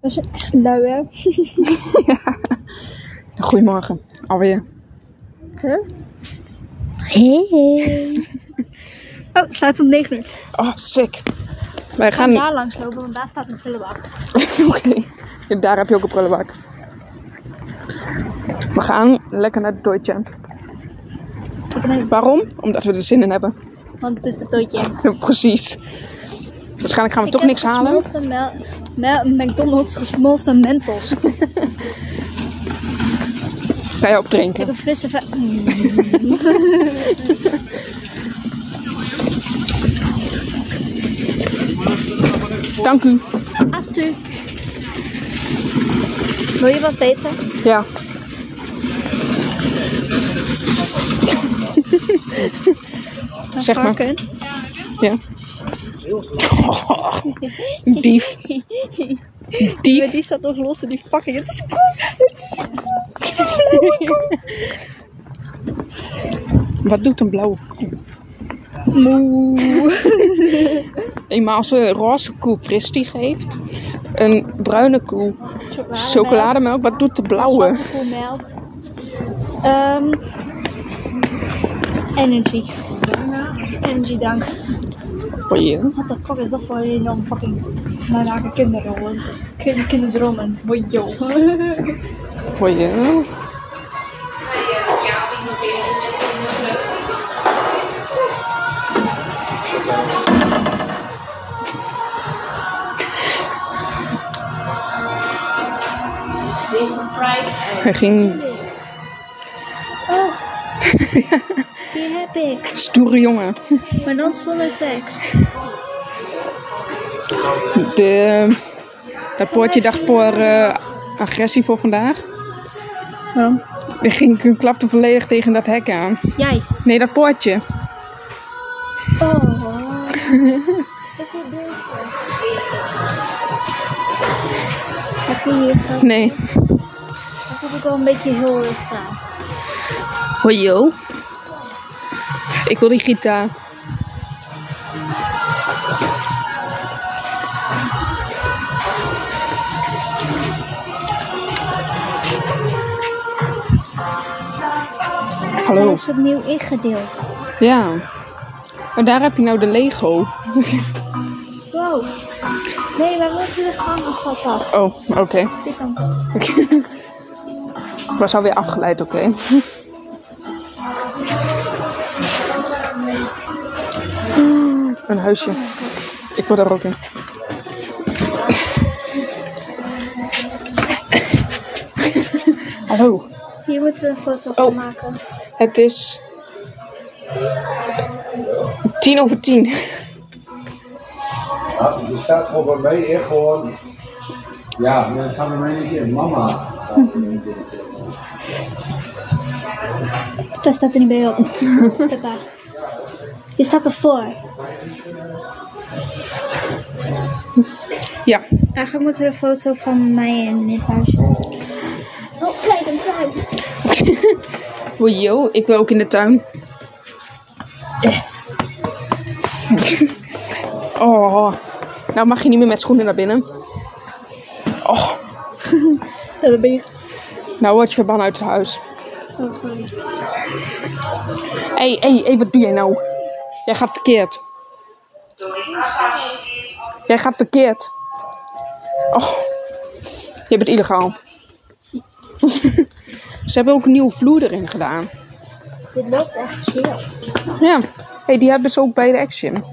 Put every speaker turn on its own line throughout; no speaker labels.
We zijn echt lui, hè?
Goedemorgen, alweer.
Huh?
Hey.
Oh, het staat op 9 uur. We
Oh, sick. Wij
gaan
gaan...
daar langs lopen, want daar staat een prullenbak.
Oké, daar heb je ook een prullenbak. We gaan lekker naar de toetje.
Ik weet niet,
Waarom? Omdat we er zin in hebben.
want het is de toetje.
Precies. Waarschijnlijk gaan we toch niks halen.
Gesmolten mel- mel- McDonald's gesmolten mentos. Ik
Ga je opdrinken.
heb een frisse ver-
Dank u.
Astu. Wil je wat weten?
Ja.
Een
Zeg maar.
varken.
ja. dief.
Maar
Dief.
die staat nog los in die pakking. Het is cool. Het is cool. Het is een blauwe koe.
Wat doet een blauwe koe?
Moe.
Eenmaal als een roze koe fristie geeft. Een bruine koe chocolademelk. Wat doet de blauwe?
Zwarte koe melk. Ehm, energy. Energy drank.
Oh jee.
What the fuck is dat voor een dan fucking... Wij maken kinderdromen. Kind, kinderdromen. Boy, yo.
Oh jee. Hij ging
Oh. Die heb ik.
stoere jongen.
Maar dan zonder tekst.
De, dat poortje dacht voor eh, agressie voor vandaag.
Waarom?
Er ging een klapte volledig tegen dat hek aan.
Jij.
Nee, dat poortje.
Oh. ik heb dit.
Heb je hier gehad?
Nee.
Dat heb ik wel een beetje heel erg gedaan.
Hoi yo. Ik wil die gitaar. Hallo.
Dat is opnieuw ingedeeld.
Ja. Maar daar heb je nou de Lego.
Wow. Nee, wij moeten de gang een gat af.
Oh, oké.
Die kant op.
Ik was alweer afgeleid, oké. Een huisje. Ik word daar ook in. Hallo.
Hier moeten we een foto
Oh.
van maken.
Het is... Tien over tien.
Ja, er staat gewoon bij mij echt gewoon. Ja, dan staan bij mij een keer mama.
Dat staat er niet bij op. Papa. Je staat ervoor.
Ja.
Eigenlijk moeten we een foto van mij en dit huisje. Oh, kijk, een tuin.
Wojo, ik wil ook in de tuin. Eh. Oh. Nou mag je niet meer met schoenen naar binnen. Oh.
Ja, dat ben je.
Nou word je verbannen uit het huis.
Oh,
Hé, hé, hé, wat doe jij nou? Jij gaat verkeerd. Jij gaat verkeerd. Oh, je bent illegaal. Ze hebben ook een nieuwe vloer erin gedaan.
Dit loopt echt chill.
Ja, hey, die hebben ze ook bij de Action.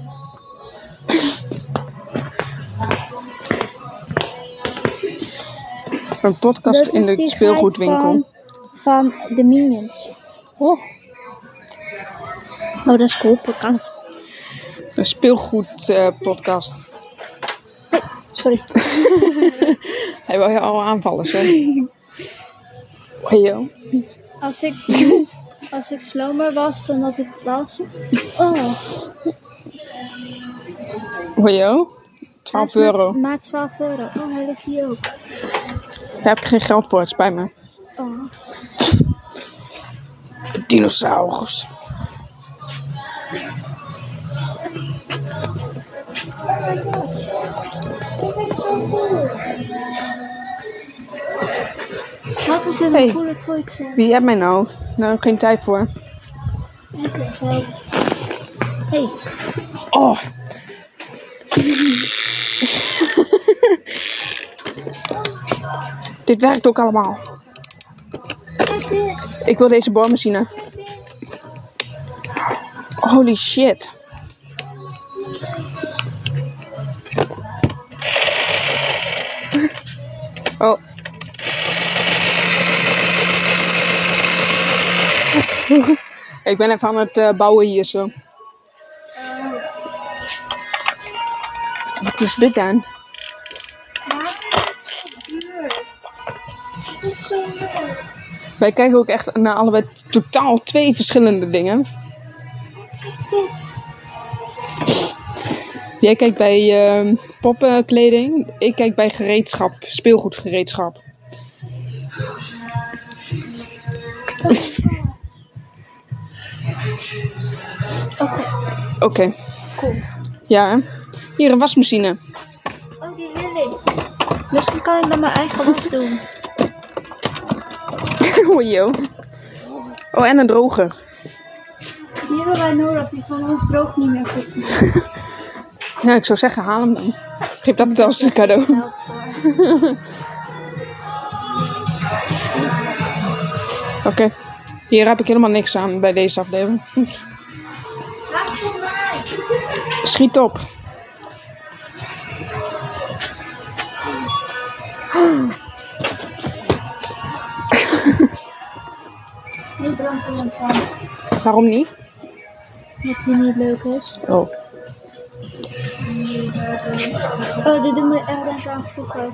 Een podcast
Dat
in
is dus
de
die
speelgoedwinkel.
Van de Minions.
Oh,
Oh, dat is cool, podcast.
een speelgoedpodcast. podcast.
Sorry.
Hij wil je al aanvallen, zeg. Hey, yo.
Als ik, niet- als ik slomer was dan dat ik was. Oh,
Hey, yo. 12
hij is
euro.
Maar, maar 12 euro. Oh, hij ligt hier ook.
Daar heb ik geen geld voor, het spijt me.
Oh.
Dinosaurus.
Laten we zitten
Hey.
voor de toy club.
Wie hebt mij nou? Nou, geen tijd voor.
Ik weet wel. Hey.
Oh. Dit werkt ook allemaal.
Kijk dit.
Ik wil deze boormachine. Holy shit. Oh. Ik ben even aan het eh, bouwen hier zo. Wat is dit dan?
Het is zo leuk.
Wij kijken ook echt naar allebei totaal twee verschillende dingen.
Dit.
Jij kijkt bij ehm, poppenkleding. Ik kijk bij gereedschap, speelgoedgereedschap.
Oké.
Oké.
Cool.
Ja. hè? Hier een wasmachine.
Oh, die wil ik. Misschien kan ik dan mijn eigen was doen.
oh joh. Oh, en een droger.
Die hebben wij nodig, die van ons droogt niet meer goed.
Ja, ik zou zeggen, haal hem dan. Geef dat meteen als een cadeau.
Geld voor.
Oké. Hier heb ik helemaal niks aan bij deze afdeling. Schiet op.
Nu drank ik hem van.
Waarom niet?
Dat hij niet leuk is.
Oh.
Oh, dit doet me erg aan vroeger.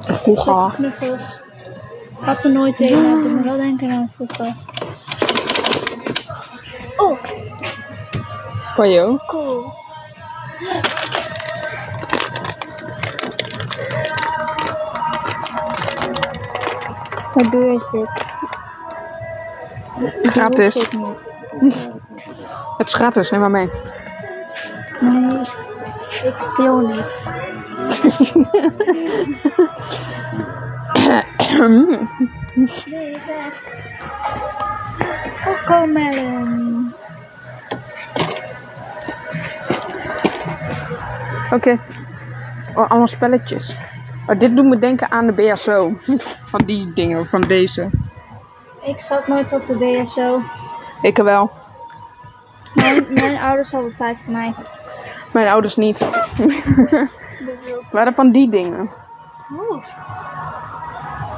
Vroeger.
Knuffels. Ik had er nooit een, maar het doet me wel denken aan vroeger. Oh,
Oh joh.
cool. Wat duur is dit?
Gratis.
Ik weet niet.
Het is gratis, neem maar mee.
Nee, ik speel niet. Nee, weg. Cocomelon.
Oké. Oh, allemaal spelletjes. Oh, dit doet me denken aan de BSO. Van die dingen, van deze.
Ik zat nooit op de BSO.
Ik wel.
Mijn, mijn ouders hadden tijd voor mij.
Mijn ouders niet. Waren van die dingen.
Oeh.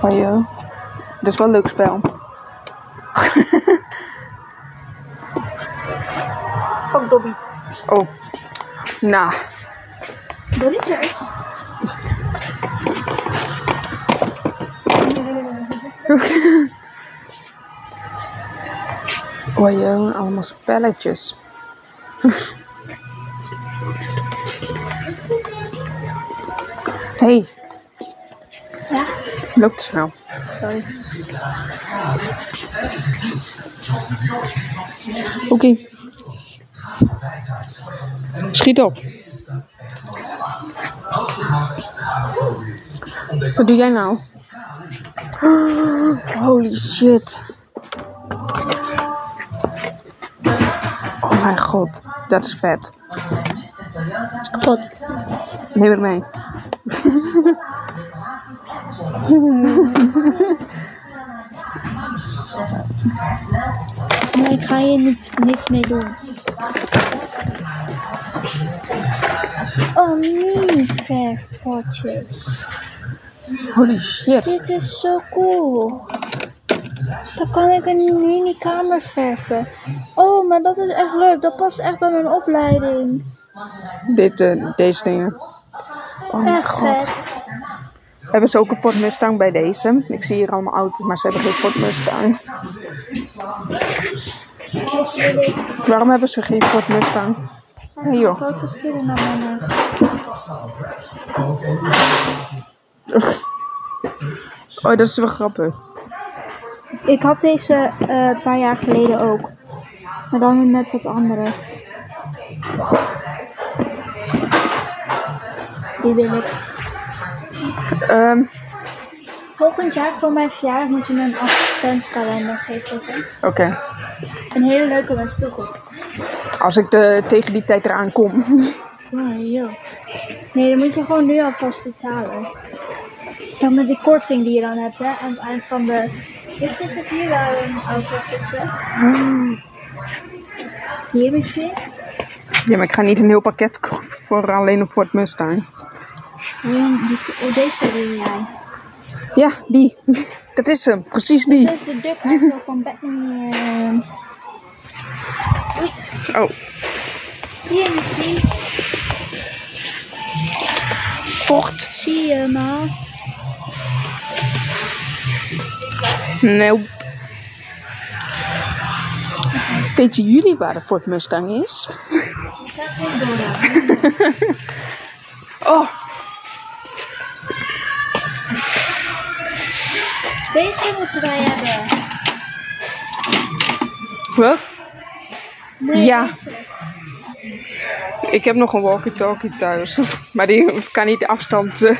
Oh joh. Dat is wel een leuk spel.
Ook Dobby.
Oh. Nou.
Dobby Kruis.
Oh joh, allemaal spelletjes. Hey.
Ja?
Loopt snel.
Sorry.
Oké. Schiet op. Wat doe jij nou? Holy shit. Oh mijn god, dat is vet.
Is kapot.
Neem het mee.
Nee, ik ga hier niet, niets mee doen. Oh nee, verpotjes.
Holy shit.
Dit is zo cool. Dan kan ik een mini-kamer verven. Oh, maar dat is echt leuk. Dat past echt bij mijn opleiding.
Dit, eh, deze dingen. Oh mijn
Echt
god.
vet.
Hebben ze ook een Ford Mustang bij deze? Ik zie hier allemaal auto's, maar ze hebben geen Ford Mustang. Waarom hebben ze geen Ford Mustang? Hey, joh.
Grote schillen naar mijn eh,
Oh, dat is wel grappig.
Ik had deze eh, een paar jaar geleden ook. Maar dan een net wat andere. Die wil ik.
Ehm,
Volgend jaar voor mijn verjaardag moet je me een adventskalender geven. oké?
Oké.
Een hele leuke met speelgoed.
Als ik de, tegen die tijd eraan kom.
Oh, joh. Nee, dan moet je gewoon nu alvast iets halen. Dan met die korting die je dan hebt, hè, aan het eind van de... Is is het hier wel een auto Hier misschien?
Ja, maar ik ga niet een heel pakket kopen voor alleen een Ford Mustang.
Oh, die, oh, deze wil jij.
Ja, die. Dat is hem. Precies die.
Dit is de Duck Hero van Batman. eh,
Oh,
Hier misschien.
Ford.
Zie je maar.
Nee. Weet jullie waar de Ford Mustang is?
Ik zag geen door.
Oh,
Deze moeten wij hebben.
wat?
Nee,
Ja.
deze.
Ik heb nog een walkie-talkie thuis. Maar die kan niet de afstand. eh.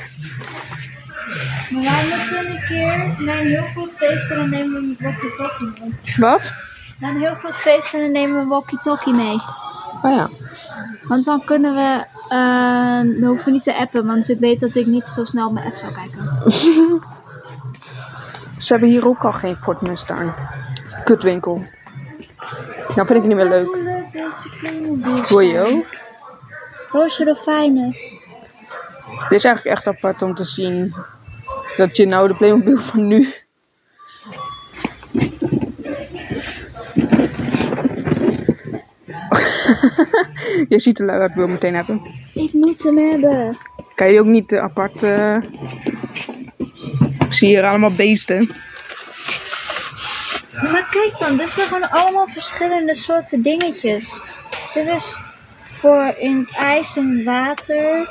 Maar wij moeten een keer naar een heel groot feest en dan nemen we een walkie-talkie mee.
Wat?
Naar een heel groot feest en dan nemen we een walkie-talkie mee.
Oh ja.
Want dan kunnen we, eh, we hoeven niet te appen, want ik weet dat ik niet zo snel op mijn app zou kijken.
Ze hebben hier ook al geen Ford Mustang. Kutwinkel. Nou vind ik het niet meer leuk.
leuk deze Playmobil
Voor
zijn.
jou?
Roosje de Fijne.
Dit is eigenlijk echt apart om te zien. Dat je nou de Playmobil van nu. je ziet de lui wat wil meteen hebben.
Ik moet hem hebben.
Kan je die ook niet eh, apart. eh? Ik zie hier allemaal beesten.
Maar kijk dan, dit zijn gewoon allemaal verschillende soorten dingetjes. Dit is voor in het ijs en water.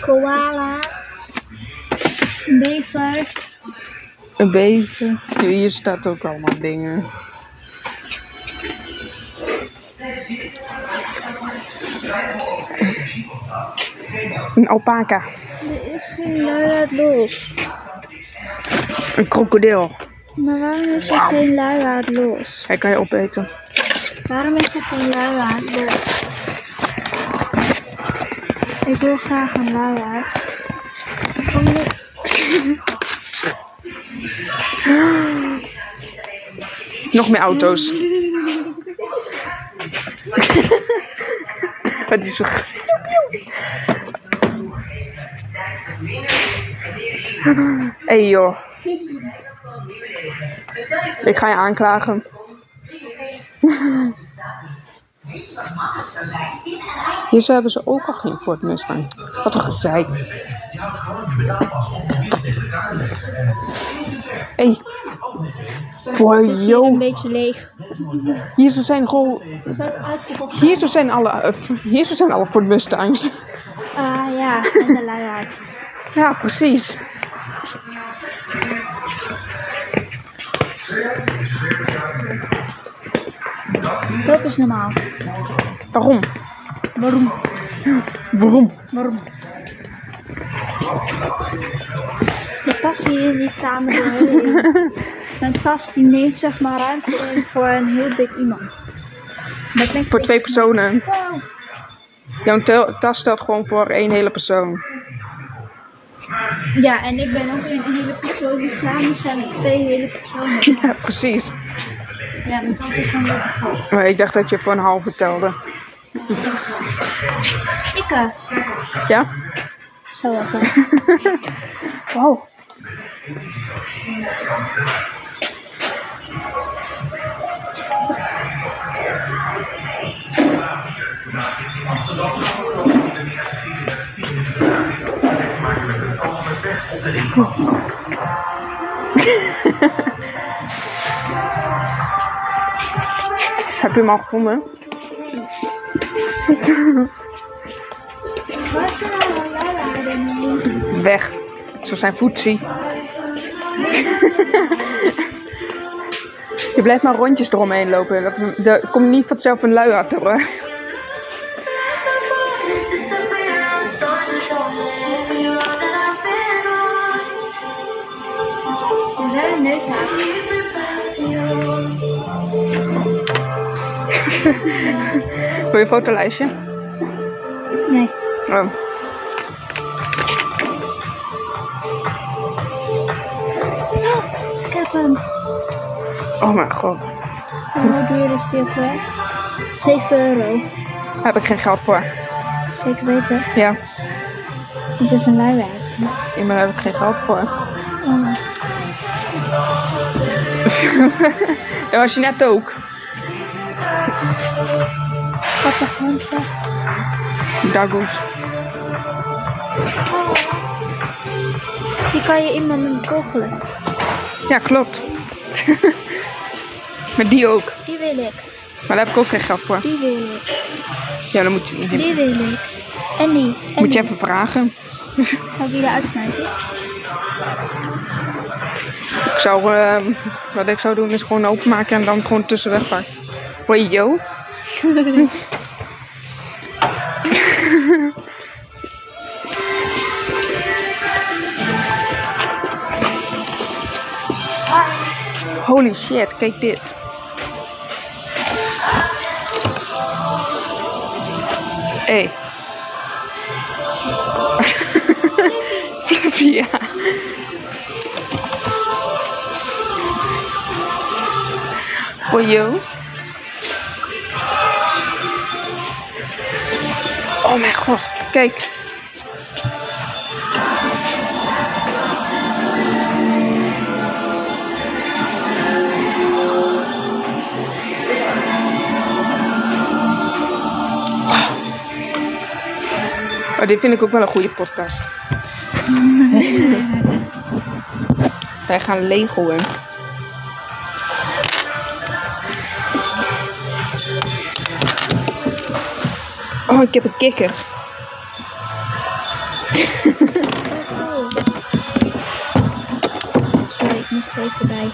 Koala. Bever.
Een beven. Hier staat ook allemaal dingen. Een alpaca.
Er is geen luiaard los.
Een krokodil.
Maar waarom is er geen luiaard los?
Hij kan je opeten.
Waarom is er geen luiaard los? Ik wil graag een luiaard. Kom niet.
Nog meer auto's. Wat is er? hey joh. Ik ga je aanklagen. Hier zo hebben ze ook al geen Ford Mustang. Wat een gezeik. hey. Boy,
Een
yo.
beetje leeg.
Hier zo zijn gewoon.
Zat uitverkocht.
Hier zo zijn alle. eh, hier zo zijn alle Ford Mustangs.
Ah ja, en de luiaard.
Ja, precies.
Dat is normaal.
Waarom? Waarom? Waarom?
We passen hier niet samen doorheen. Mijn tas die neemt zeg maar ruimte in voor een heel dik iemand. Dat lijkt
Voor twee personen.
Wow.
Jouw tel- tas stelt gewoon voor één hele persoon.
Ja, en ik ben ook een hele persoon. Dus samen zijn we twee hele personen.
Ja, precies.
Ja, mijn tas is gewoon heel groot.
Maar ik dacht dat je voor een half vertelde.
Ik eh,
Ja?
Zo even. wow.
Heb je hem al gevonden?
Waar is nou een luiaard in?
Weg. Zo zijn voetsie. je blijft maar rondjes eromheen lopen. Dat, er komt niet vanzelf een luiaard hoor.
Disappearance, don't you go every road that I've been on.
mijn neushaar.
Wil je fotolijstje?
Nee.
Oh.
Ik heb hem.
Oh mijn god.
Hoe duur is die ook weer? 7 euro.
Daar heb ik geen geld voor.
Zeker weten.
Ja,
Het is een luiaardje.
ja, maar daar heb ik geen geld voor.
Oh.
Dat was je net ook.
Wat een handje.
Dagoes.
Die kan je iemand in kogelen.
Ja, klopt. maar die ook.
Die wil ik.
Maar daar heb ik ook geen geld voor.
Die wil ik.
Ja, dan moet je niet
Die wil ik. En die. En
Moet
die.
je even vragen.
Zou ik die eruit snijden?
Ik zou, ehm, wat ik zou doen is gewoon openmaken en dan gewoon tussenweg pakken. Hoi, yo. Holy shit, kijk dit. Hé. Hey. Fluffy, ja. Hoi, yo. Oh mijn god, kijk. Oh, dit vind ik ook wel een goede podcast. Wij gaan legoën. Oh, ik heb een kikker.
Sorry, ik moest er even bij.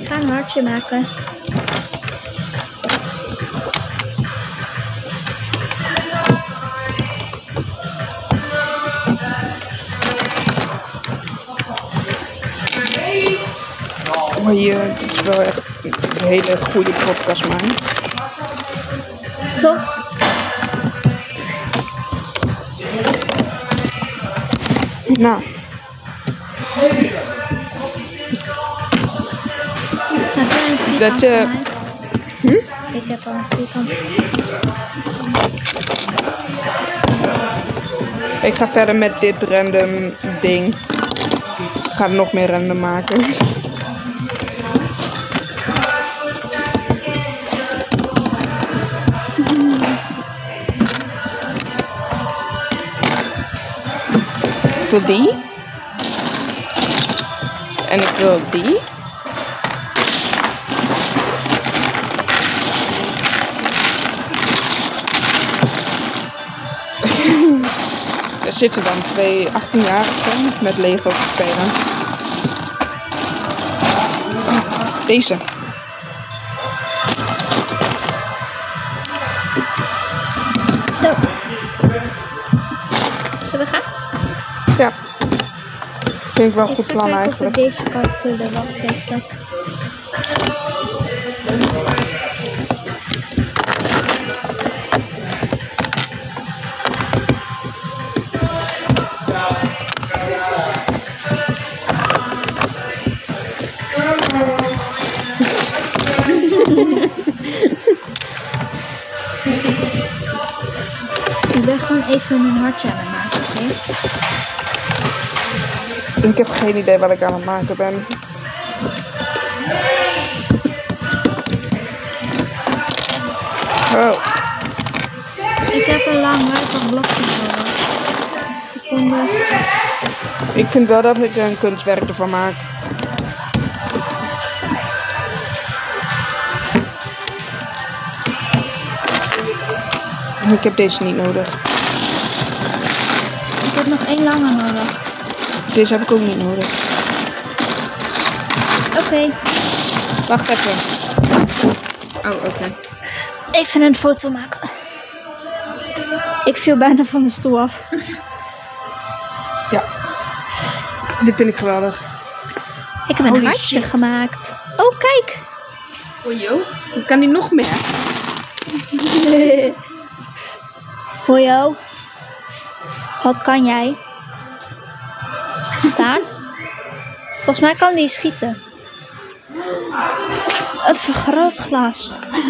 Ik ga een hartje maken.
Maar hier, eh, dit is wel echt een hele goede podcast, man.
Toch?
Nou,
Ik heb al een vierkant
Dat, eh, hm?
gemaakt. Ik heb al een vierkant.
ik ga verder met dit random ding. Ik ga nog meer random maken. Ik wil die. En ik wil die. Er zitten dan twee 18-jarigen met Lego te spelen. Deze.
Zo. Zullen we gaan?
Ja. Vind ik wel een
Ik
goed
ga
plan
kijken of ik
eigenlijk.
deze kan vullen. Wacht even. Ik ben gewoon even een hartje aan het maken, oké?
Ik heb geen idee wat ik aan het maken ben. Oh,
Ik heb een lang rijpig blokje nodig. Ik vond het-
ik vind wel dat ik er een kunstwerk ervan maak. Ik heb deze niet nodig.
Ik heb nog één lange nodig.
Deze heb ik ook niet nodig.
Oké,
Wacht even. Oh, oké.
even een foto maken. Ik viel bijna van de stoel af.
Ja. Dit vind ik geweldig.
Ik heb een
Holy
hartje
shit.
gemaakt. Oh, kijk.
Oh joh, dan kan die nog meer.
Hojo. Wat kan jij? Staan? Volgens mij kan die schieten. Een vergrootglas.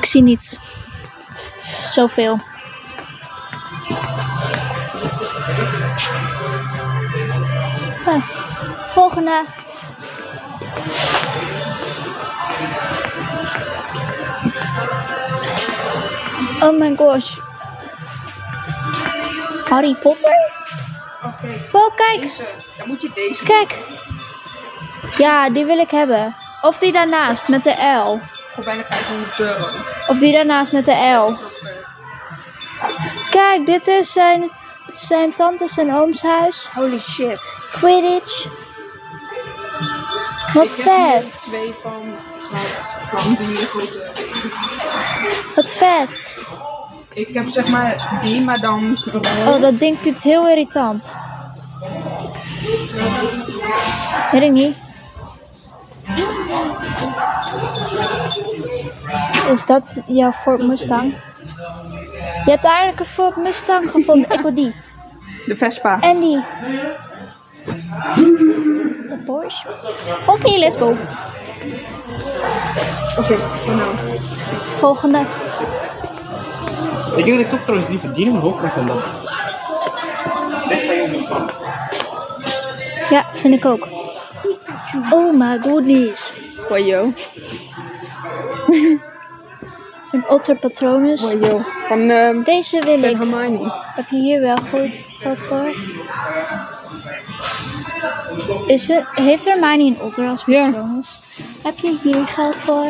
Ik zie niets. Zoveel. Ah, volgende. Oh my gosh. Harry Potter?
Oké,
Oh, kijk.
dan moet je deze.
Kijk. Ja, die wil ik hebben. Of die daarnaast met de L.
Voor bijna 500 euro.
Of die daarnaast met de L. Kijk, dit is zijn, zijn tantes en ooms huis.
Holy shit.
Quidditch. Wat
Ik heb hier
vet.
twee van gehad, van die grote.
Wat vet.
Ik heb zeg maar die, maar dan
Oh,
rood.
dat ding piept heel irritant. Weet ik niet. Is dat jouw Ford Mustang? Je hebt eigenlijk een Ford Mustang gevonden. Ik wil die.
De Vespa.
En die. De Porsche. Oké, let's go.
Oké, nou.
Volgende.
Ik denk dat ik toch trouwens die verdienen hoog krijg dan dat.
Ja, vind ik ook. Oh my goodness.
Wajo.
Een otterpatronus.
Wajo. Van ehm
Deze wil
Ben
ik.
Hermione.
Heb je hier wel goed wat voor? Is het, heeft Hermione een otter als
Ja.
patronus? Heb je hier geld voor?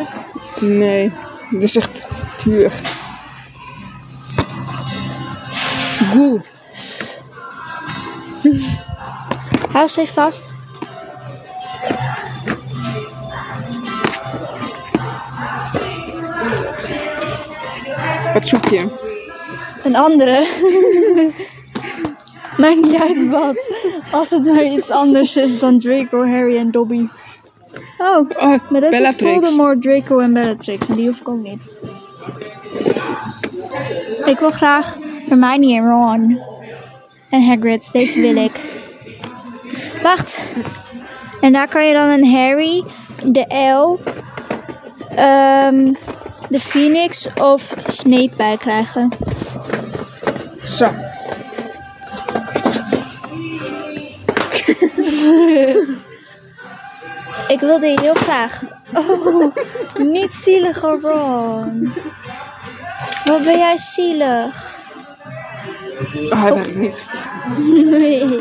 Nee, dit is echt duur. Goe.
Hou ze vast.
Wat zoek je?
Een andere. Maakt niet uit wat. Als het maar iets anders is dan Draco, Harry en Dobby. Oh,
Oh,
maar dat is
Bellatrix.
Voldemort, Draco en Bellatrix. En die hoef ik ook niet. Ik wil graag Hermione en Ron. En Hagrid, deze wil ik. Wacht. En daar kan je dan een Harry, de L, ehm, de Phoenix of Snape bij krijgen.
Zo. Oh,
Ik wil die heel graag. Oh, niet zielige Ron. Wat ben jij zielig?
Oh, hij werkt niet.
Nee.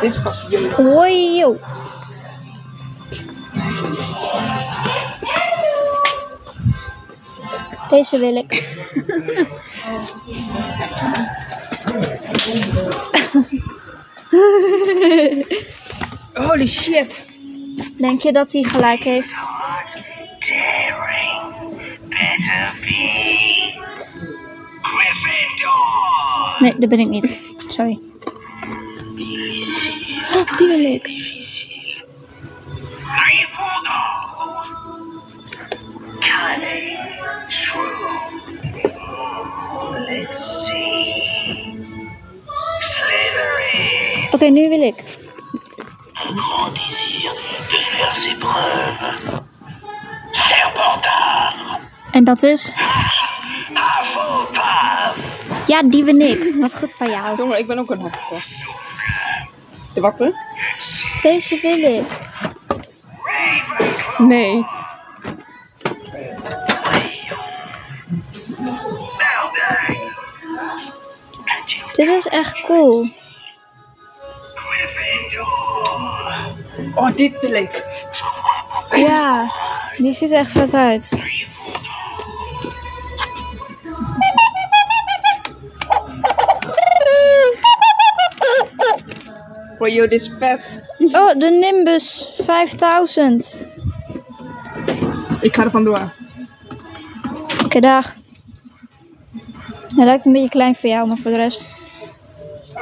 Dit is pas jullie.
Hoi, joh. Deze wil ik.
Holy shit.
Denk je dat hij gelijk heeft?
better be Gryffindor.
Nee, dat ben ik niet. Sorry. Oh, die wil ik.
Harry Potter. Cunning. True. Let's see. Slytherin.
Oké, nu wil ik.
Un grand désir de faire ses preuves. Serpentard.
En dat is?
Hufflepuff.
Ja, die ben ik. Wat goed van jou.
Jongen, ik ben ook een hopper. De watte?
Deze wil ik.
Nee.
Malfoy.
Dit is echt cool.
Gryffindor.
Oh, dit wil ik.
Ja, die ziet er echt vet uit.
Wajo, dit is vet.
Oh, de Nimbus 5000.
Ik ga er vandoor.
dag. Hij lijkt een beetje klein voor jou, maar voor de rest.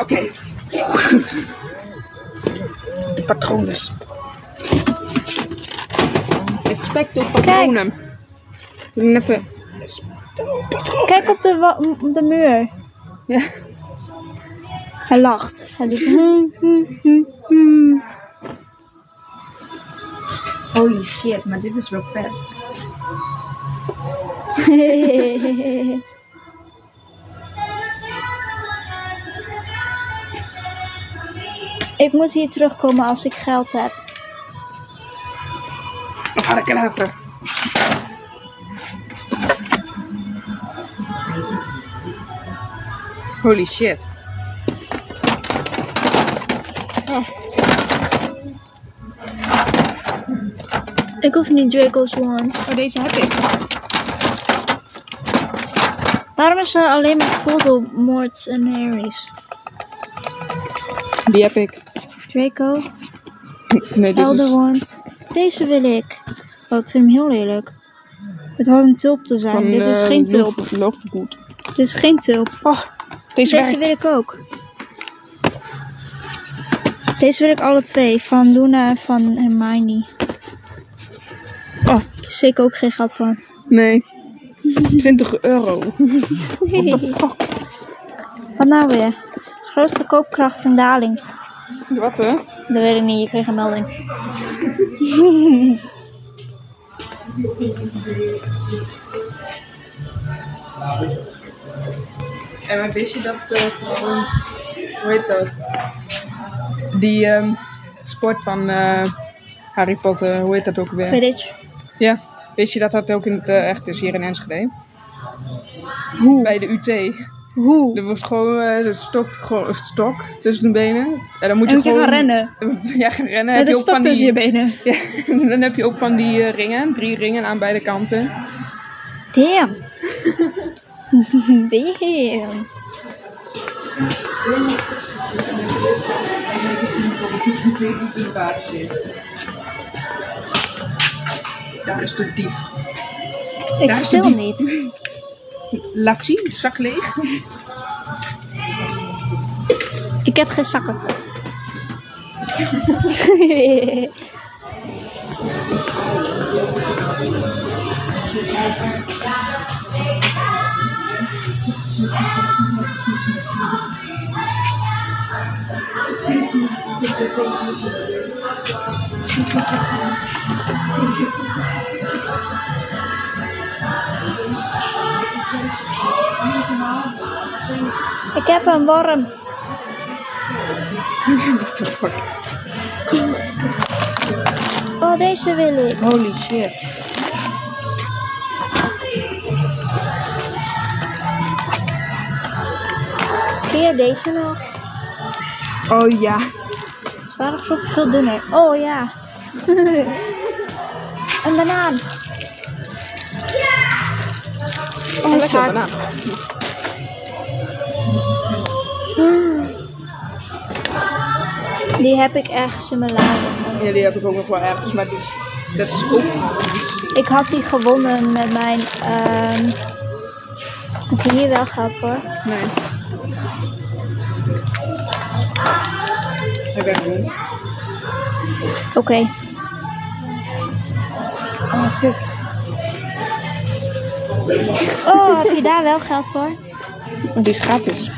Oké. De patronen. Expecto patronen. We doen even.
Kijk op de, wa- m- op de muur.
Ja.
Hij lacht. Hij doet. hmm, hmm, hmm, hmm.
Holy shit, maar dit is wel vet.
ik moet hier terugkomen als ik geld heb.
Abracadabra. Holy shit.
Ik hoef niet Draco's wand.
Oh, deze heb ik.
Waarom is er alleen maar Voldemort's en Harry's?
Die heb ik.
Draco,
Nee, dit
Elder
is...
wand. Deze wil ik. Oh, ik vind hem heel lelijk. Het had een tulp te zijn. Dit is
eh,
geen
Love-
tulp.
Lovegood.
Dit is geen tulp.
Oh, deze,
Deze
werkt.
wil ik ook. Deze wil ik alle twee. Van Luna en van Hermione.
Oh.
Zeker ook geen geld van.
Nee. 20 euro. What the fuck?
Wat nou weer? Grootste koopkracht en daling.
Wat hè?
Dat weet ik niet, je kreeg een melding.
En maar wist je dat eh, voor ons, hoe heet dat? Die ehm, sport van eh, Harry Potter, hoe heet dat ook weer?
Quidditch.
Ja, wist je dat dat ook in het eh, echt is hier in Enschede? Bij de UT.
Hoe?
Er wordt gewoon eh, een stok, gewoon een stok tussen de benen. En dan moet
En
je,
moet je
gewoon...
gaan rennen.
Ja, gaan rennen. Heb
Met
je
een
ook
stok
van die...
tussen je
né?
benen.
Ja, dan heb je ook van die eh, ringen, drie ringen aan beide kanten.
Damn. Damn.
Daar is de dief.
Ik
Daar is
stil
die-
niet.
Laat zien, zak leeg.
Ik heb geen zakken. Ik heb een worm.
What the fuck?
Oh, deze wil ik.
Holy shit.
Ken je deze nog?
Oh ja.
Ze waren vroeger veel dunner. Oh ja. een banaan.
Oh,
Hij is
lekker
hard.
banaan.
Die heb ik ergens in mijn la.
Ja, die heb ik ook nog wel ergens, maar die is, dat is ook...
Ik had die gewonnen met mijn. ehm Heb je hier wel geld voor?
Nee. Ik ben goed.
Oké. Oh, heb je daar wel geld voor?
Die is gratis.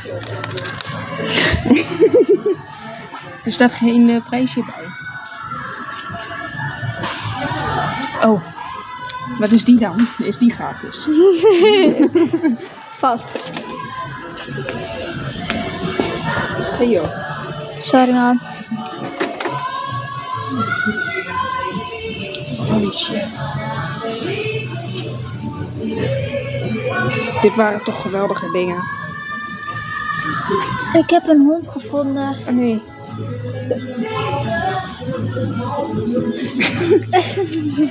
er staat geen eh, prijsje bij. Oh. Wat is die dan? Is die gratis?
Vast.
Hey joh.
Sorry man.
Holy shit. Dit waren toch geweldige dingen.
Ik heb een hond gevonden.
Oh nee.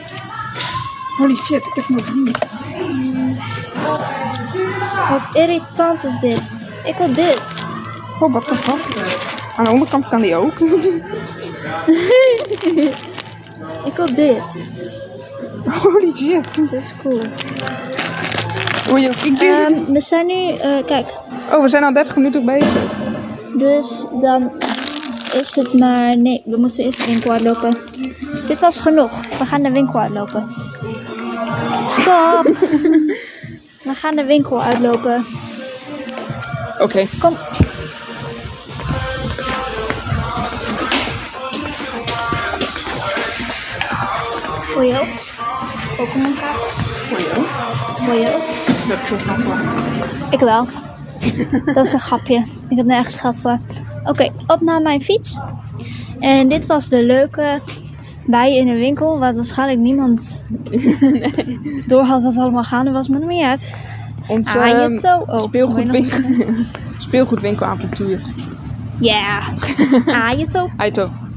Holy shit, ik heb nog drie.
Wat irritant is dit. Ik wil dit.
Oh, wat de fuck. Aan de onderkant kan die ook.
Ik wil dit.
Holy shit.
Dat is cool.
Oei, oei. ik denk-
Ehm, we zijn nu, eh, kijk,
Oh, we zijn al 30 minuten bezig.
dus dan is het maar. Nee, we moeten eerst de winkel uitlopen. Dit was genoeg. We gaan de winkel uitlopen. Stop! we gaan de winkel uitlopen.
Oké.
Kom. Ojo. Pokémon kaart. Ojo. Ik wel. Dat is een grapje. Ik heb nergens geld voor. Oké, op naar mijn fiets. En dit was de leuke bij in de winkel. Wat waarschijnlijk niemand door had wat er allemaal gaande was. Maar dat maakt niet uit.
Ons
Ah, je
ehm,
hebt wel- oh,
speelgoedwinkel. speelgoedwinkelavontuur.
Ja. Ah, je top.
Aito.